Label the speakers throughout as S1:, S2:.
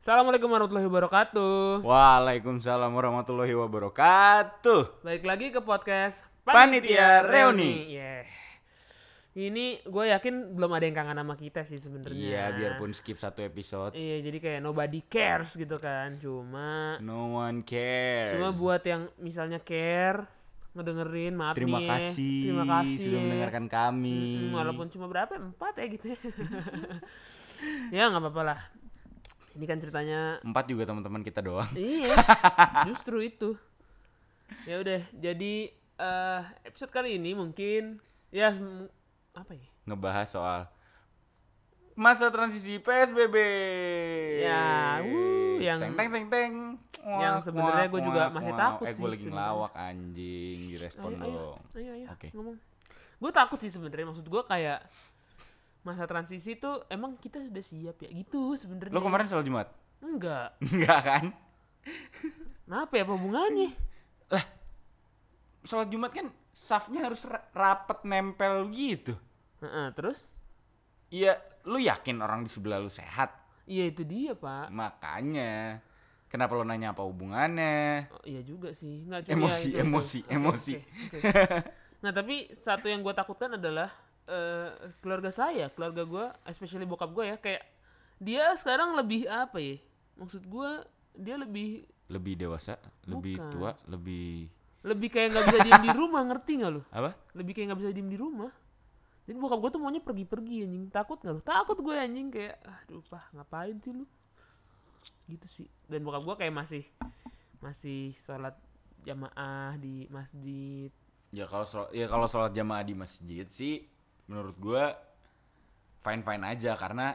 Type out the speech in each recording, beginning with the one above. S1: Assalamualaikum warahmatullahi wabarakatuh.
S2: Waalaikumsalam warahmatullahi wabarakatuh.
S1: Balik lagi ke podcast
S2: Panitia Reuni.
S1: Yeah. Ini gue yakin belum ada yang kangen sama kita sih sebenarnya.
S2: Iya, biarpun skip satu episode,
S1: Iya, jadi kayak nobody cares gitu kan. Cuma
S2: no one cares.
S1: cuma buat yang misalnya care ngedengerin maaf
S2: Terima
S1: nih. ya.
S2: kasih,
S1: Terima kasih.
S2: sudah mendengarkan
S1: Mm,
S2: kami.
S1: walaupun cuma berapa ya? empat ya gitu ya. ya nggak apa-apa lah ini kan ceritanya
S2: empat juga teman-teman kita doang.
S1: Iya, justru itu. Ya udah, jadi eh episode kali ini mungkin ya m- apa ya?
S2: Ngebahas soal masa transisi PSBB.
S1: Ya, wuh, yang-
S2: teng teng teng teng.
S1: Yang
S2: Muak,
S1: sebenarnya
S2: muak,
S1: gua juga
S2: muak,
S1: masih
S2: muak.
S1: takut
S2: eh,
S1: sih
S2: gue lagi
S1: sebenarnya.
S2: ngelawak anjing, direspon
S1: Ayo, ayo,
S2: dong.
S1: ayo, ayo,
S2: Oke.
S1: ngomong. Gue takut sih sebenarnya, maksud gue kayak masa transisi tuh emang kita sudah siap ya gitu sebenarnya.
S2: Lo kemarin soal Jumat?
S1: Enggak.
S2: Enggak kan?
S1: Kenapa ya apa hubungannya?
S2: Sholat Jumat kan safnya harus ra- rapet nempel gitu.
S1: Heeh, terus?
S2: Iya, lu yakin orang di sebelah lu sehat?
S1: Iya itu dia pak.
S2: Makanya. Kenapa lu nanya apa hubungannya?
S1: Oh, iya juga sih. Nggak, cuma ya
S2: Emosi,
S1: itu, itu.
S2: emosi,
S1: Oke,
S2: emosi.
S1: oke, oke. Nah tapi satu yang gue takutkan adalah eh, keluarga saya, keluarga gue, especially bokap gue ya kayak dia sekarang lebih apa ya? Maksud gue dia lebih
S2: Lebih dewasa, lebih
S1: Bukan.
S2: tua, lebih
S1: lebih kayak nggak bisa diem di rumah ngerti nggak lo?
S2: apa?
S1: Lebih kayak nggak bisa diem di rumah. Jadi bokap gue tuh maunya pergi-pergi anjing takut nggak lo? Takut gue anjing kayak aduh pak ngapain sih lu? Gitu sih. Dan bokap gue kayak masih masih sholat jamaah di masjid.
S2: Ya kalau shol- ya kalau sholat jamaah di masjid sih menurut gua fine fine aja karena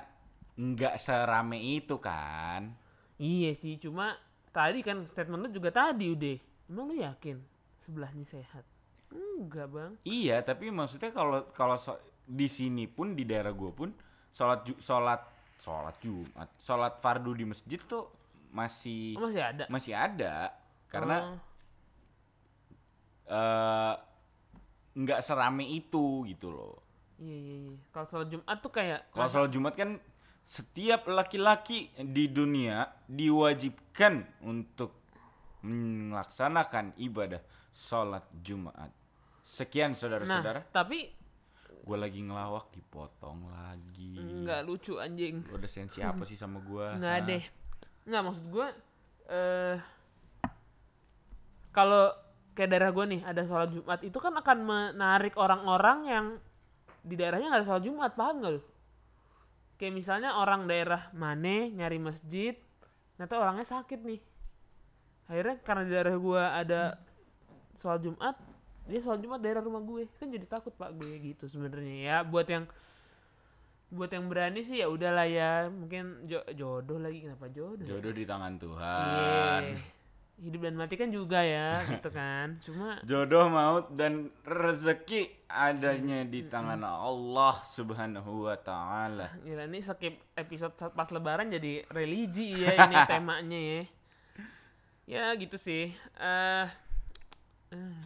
S2: nggak serame itu kan.
S1: Iya sih, cuma tadi kan statement lu juga tadi udah. Emang lu yakin sebelahnya sehat? Enggak bang.
S2: Iya, tapi maksudnya kalau kalau so- di sini pun di daerah gua pun sholat ju- sholat sholat Jumat, sholat fardu di masjid tuh masih
S1: Oh, masih ada.
S2: masih ada karena
S1: Oh,
S2: eh, nggak serame itu gitu loh.
S1: iya iya iya. Kalau sholat Jumat tuh kayak
S2: Kalau sholat Jumat kan setiap laki-laki di dunia diwajibkan untuk melaksanakan ibadah sholat Jumat. Sekian
S1: nah,
S2: saudara-saudara,
S1: tapi
S2: gue lagi ngelawak dipotong lagi.
S1: nggak lucu anjing.
S2: Lu Udah sensi apa sih sama gue?
S1: Nggak deh. Nggak maksud gue eh kalau kayak daerah gue nih ada sholat Jumat itu kan akan menarik orang-orang yang di daerahnya nggak ada sholat Jumat paham nggak lu? Kayak misalnya orang daerah Mane nyari masjid, ternyata orangnya sakit nih. Akhirnya karena di daerah gue ada sholat Jumat, dia sholat Jumat daerah rumah gue kan jadi takut pak gue gitu sebenarnya ya buat yang buat yang berani sih ya udahlah ya mungkin jo- jodoh lagi kenapa jodoh? ya?
S2: Jodoh di tangan Tuhan.
S1: Iya. Hidup dan mati kan juga ya, gitu kan. Cuma
S2: Jodoh maut dan rezeki adanya di tangan Allah Subhanahu wa taala.
S1: gila ini skip episode saat pas lebaran jadi religi ya ini temanya ya. Ya gitu sih. Eh eh,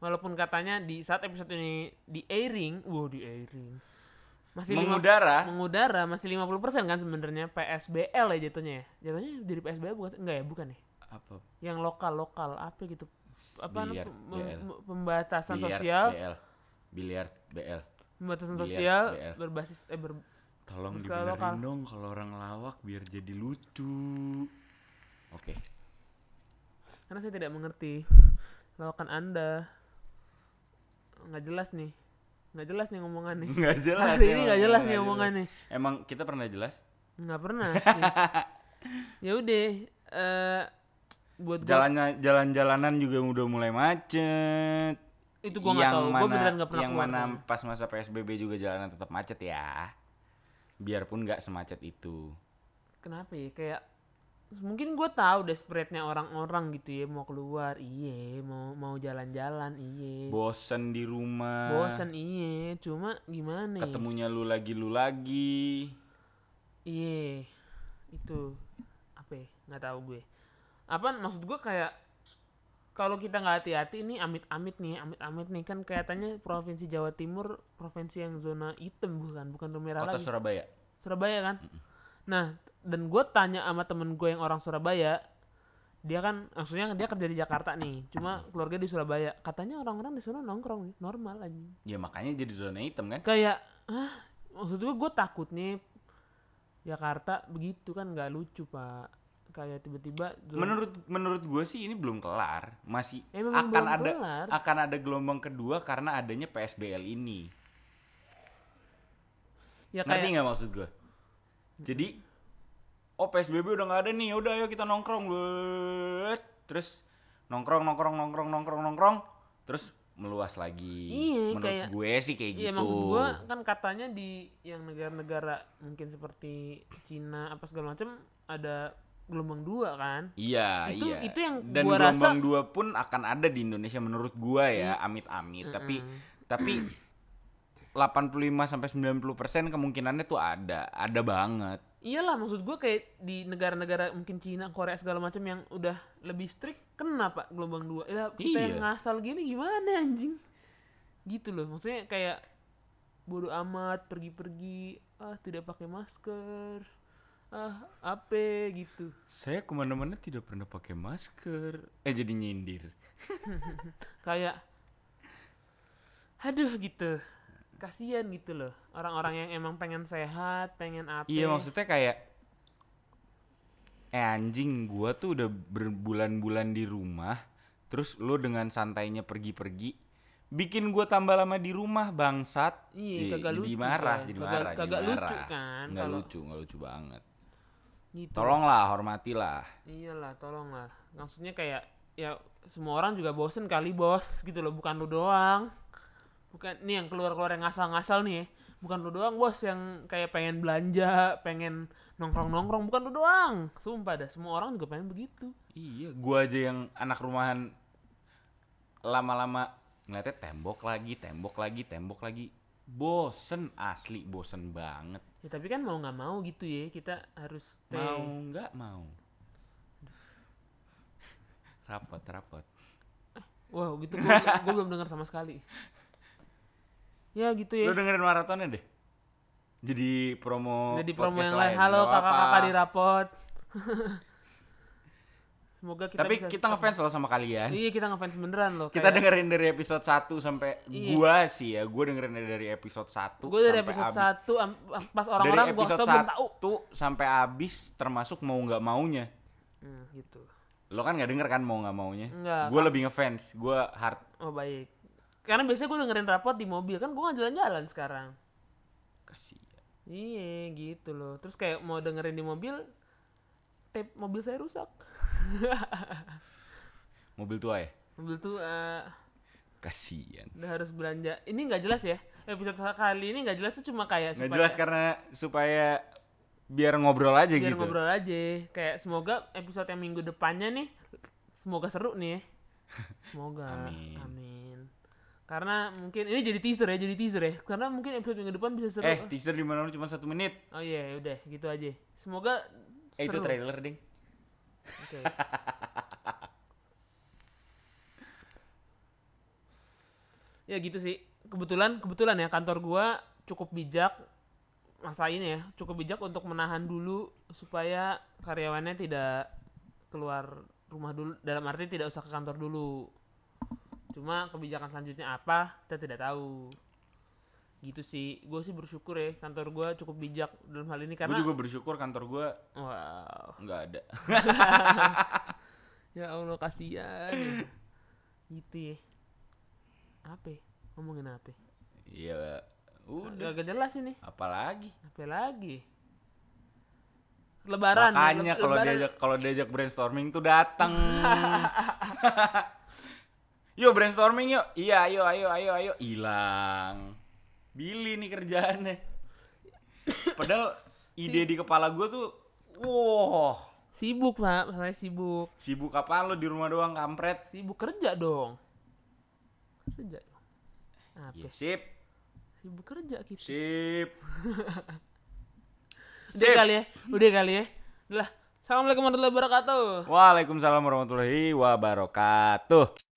S1: walaupun katanya di saat episode ini di airing, wow di airing. Masih lima-
S2: Mengudara
S1: mengudara masih 50% kan sebenarnya PSBL ya jatuhnya ya. Jatuhnya dari PSBL bukan enggak ya, bukan ya.
S2: apa?
S1: Yang lokal-lokal apa gitu apa namanya,
S2: Biliar,
S1: pem-
S2: BL.
S1: pem- pembatasan
S2: Biliar,
S1: sosial
S2: BL. Biliar BL.
S1: pembatasan
S2: Dilihat,
S1: sosial
S2: BL.
S1: berbasis eh ber,
S2: Tolong
S1: Terus kalau lokal.
S2: dibenerin dong kalau orang lawak biar jadi lucu. Oke.
S1: karena saya tidak mengerti lawakan anda nggak jelas nih nggak jelas nih ngomongan nih
S2: Nggak jelas.
S1: hari Ah, ini
S2: emang,
S1: nggak jelas nih
S2: nggak
S1: omongannya
S2: Emang kita pernah jelas?
S1: nggak pernah sih. ya udah eh, buat gua-
S2: Jalannya jalan-jalanan juga udah mulai macet.
S1: itu gua nggak
S2: Yang
S1: tahu gua
S2: mana-
S1: beneran nggak pernah
S2: yang
S1: keluar
S2: mana
S1: sana.
S2: pas masa PSBB juga jalanan tetap macet ya. Biarpun nggak semacet itu.
S1: kenapa ya kayak mungkin gue tahu desperate-nya orang-orang gitu ya mau keluar iye mau mau jalan-jalan iye
S2: Bosen di rumah.
S1: bosan iye cuma gimana ya?
S2: Ketemunya lu lagi lu lagi.
S1: Iya, itu apa? ya? Nggak tahu gue. Apa maksud gue kayak kalau kita nggak hati-hati ini amit-amit nih, amit-amit nih kan kelihatannya provinsi Jawa Timur provinsi yang zona hitam bukan, bukan zona merah
S2: Kota
S1: lagi.
S2: Surabaya.
S1: Surabaya kan. Nah dan gue tanya sama temen gue yang orang Surabaya dia kan maksudnya dia kerja di Jakarta nih cuma keluarga di Surabaya katanya orang-orang di sana nongkrong normal anjing
S2: ya makanya jadi zona hitam kan
S1: kayak ah maksud gue gue takutnya Jakarta begitu kan nggak lucu pak kayak tiba-tiba zona-
S2: menurut menurut gue sih ini belum kelar masih
S1: Ya, memang
S2: akan
S1: belum
S2: ada
S1: kelar.
S2: akan ada gelombang kedua karena adanya PSBL ini
S1: ya
S2: ngerti
S1: kayak
S2: nggak maksud gue jadi oh PSBB udah nggak ada nih udah ayo kita nongkrong Wet. terus nongkrong nongkrong nongkrong nongkrong nongkrong terus meluas lagi
S1: Iya,
S2: menurut
S1: kayak-
S2: gue sih kayak
S1: iya
S2: gitu
S1: maksud gue kan katanya di yang negara-negara mungkin seperti Cina apa segala macam ada gelombang dua kan
S2: Iya,
S1: Itu-
S2: iya.
S1: itu yang
S2: dan
S1: gua rasa- Mm.
S2: gelombang dua pun akan ada di Indonesia menurut gua ya, amit-amit. Tapi tapi 85 sampai 90% kemungkinannya tuh ada, ada banget.
S1: iyalah maksud gue kayak di negara-negara mungkin Cina Korea segala macam yang udah lebih strict kenapa gelombang dua ya kita
S2: Iya.
S1: yang ngasal gini gimana anjing gitu loh maksudnya kayak bodoh amat pergi-pergi ah tidak pakai masker ah apa gitu
S2: Saya kemana-mana tidak pernah pakai masker. Eh jadi nyindir.
S1: kayak aduh gitu kasihan gitu loh orang-orang yang emang pengen sehat pengen apa
S2: Iya maksudnya kayak eh anjing gua tuh udah berbulan-bulan di rumah, terus lu dengan santainya pergi-pergi bikin gua tambah lama di rumah bangsat.
S1: Iya,
S2: Jadi-
S1: kagak
S2: jadi
S1: lucu
S2: marah,
S1: kan.
S2: jadi
S1: Kagak-
S2: marah,
S1: kagak
S2: jadi marah.
S1: lucu kan
S2: Nggak
S1: kalau-
S2: lucu, nggak lucu banget.
S1: gitu
S2: Tolonglah, hormatilah.
S1: iyalah tolonglah maksudnya kayak ya semua orang juga bosen kali bos gitu loh bukan lu doang bukan nih yang keluar keluar yang ngasal-ngasal nih ya. bukan lu doang bos yang kayak pengen belanja pengen nongkrong nongkrong bukan lu doang sumpah dah semua orang juga pengen begitu
S2: Iya, gua aja yang anak rumahan lama-lama ngeliatnya tembok lagi, tembok lagi, tembok lagi. Bosen asli, bosen banget.
S1: ya tapi kan mau nggak mau gitu ya kita harus stay
S2: Mau nggak mau. Rapot, rapot.
S1: wow gitu gue belum dengar sama sekali ya gitu ya
S2: Lo dengerin maratonnya deh. Jadi promo
S1: Jadi promo
S2: podcast
S1: yang lain. Halo
S2: nggak
S1: kakak-kakak
S2: apa-apa.
S1: di rapot. Semoga kita
S2: Tapi
S1: bisa
S2: kita ngefans loh sama kalian.
S1: Iya, kita ngefans beneran loh.
S2: Kita dengerin dari episode 1 sampai
S1: Iya.
S2: gua sih ya, gua dengerin dari episode 1
S1: Gue dari episode satu am- am- pas
S2: Dari
S1: orang-orang gue
S2: episode
S1: sebelum tahu.
S2: 1 sampai habis termasuk mau nggak maunya.
S1: Hmm, gitu.
S2: Lo kan nggak denger kan mau nggak maunya?
S1: Nggak,
S2: Gua lebih ngefans, gua hard.
S1: Oh baik. Karena biasanya gue dengerin rapot di mobil kan gue nggak jalan-jalan sekarang.
S2: Kasih.
S1: Iya gitu loh. Terus kayak mau dengerin di mobil, tape mobil saya rusak.
S2: Mobil tua ya?
S1: mobil tuh eh,
S2: Kasian.
S1: udah harus belanja. Ini nggak jelas ya. Episode kali ini nggak jelas tuh cuma kayak
S2: nggak
S1: supaya-
S2: jelas karena supaya biar ngobrol aja
S1: biar
S2: gitu.
S1: ngobrol aja kayak semoga episode yang minggu depannya nih semoga seru nih ya. semoga
S2: Amin.
S1: amin karena mungkin ini jadi teaser ya jadi teaser ya karena mungkin episode minggu depan bisa seru
S2: Eh, teaser di mana cuma satu menit.
S1: oh iya udah gitu aja semoga
S2: Eh, itu
S1: seru
S2: trailer, Ding.
S1: Oke. ya gitu sih kebetulan kebetulan ya kantor gua cukup bijak masa ini ya cukup bijak untuk menahan dulu supaya karyawannya tidak keluar rumah dulu dalam arti tidak usah ke kantor dulu cuma kebijakan selanjutnya apa kita tidak tahu gitu sih gue sih bersyukur ya kantor gua cukup bijak dalam hal ini
S2: Gue
S1: karena
S2: juga bersyukur kantor gua
S1: wow
S2: nggak ada.
S1: Ya Allah kasihan. ya. gitu ya. Apa? ya? Ngomongin apa? ya?
S2: Iya, udah.
S1: Gak jelas ini.
S2: Apalagi.
S1: Apa lagi? Lebaran. ya,
S2: Makanya
S1: leb-
S2: kalau
S1: lebaran.
S2: diajak kalau diajak brainstorming tuh datang. yuk brainstorming yuk. Iya, ayo ayo ayo ayo hilang. Billy nih kerjaannya. Padahal ide di kepala gua tuh wow,
S1: sibuk, Pak. Saya sibuk.
S2: sibuk apaan lu di rumah doang kampret.
S1: Sibuk kerja dong. Kerja dong. Apa?
S2: Iya, sip,
S1: Sibuk kerja gitu.
S2: sip.
S1: Udah
S2: Sip.
S1: kali ya. Udah kali ya. Udah. lah. Assalamualaikum warahmatullahi wabarakatuh.
S2: Waalaikumsalam warahmatullahi wabarakatuh.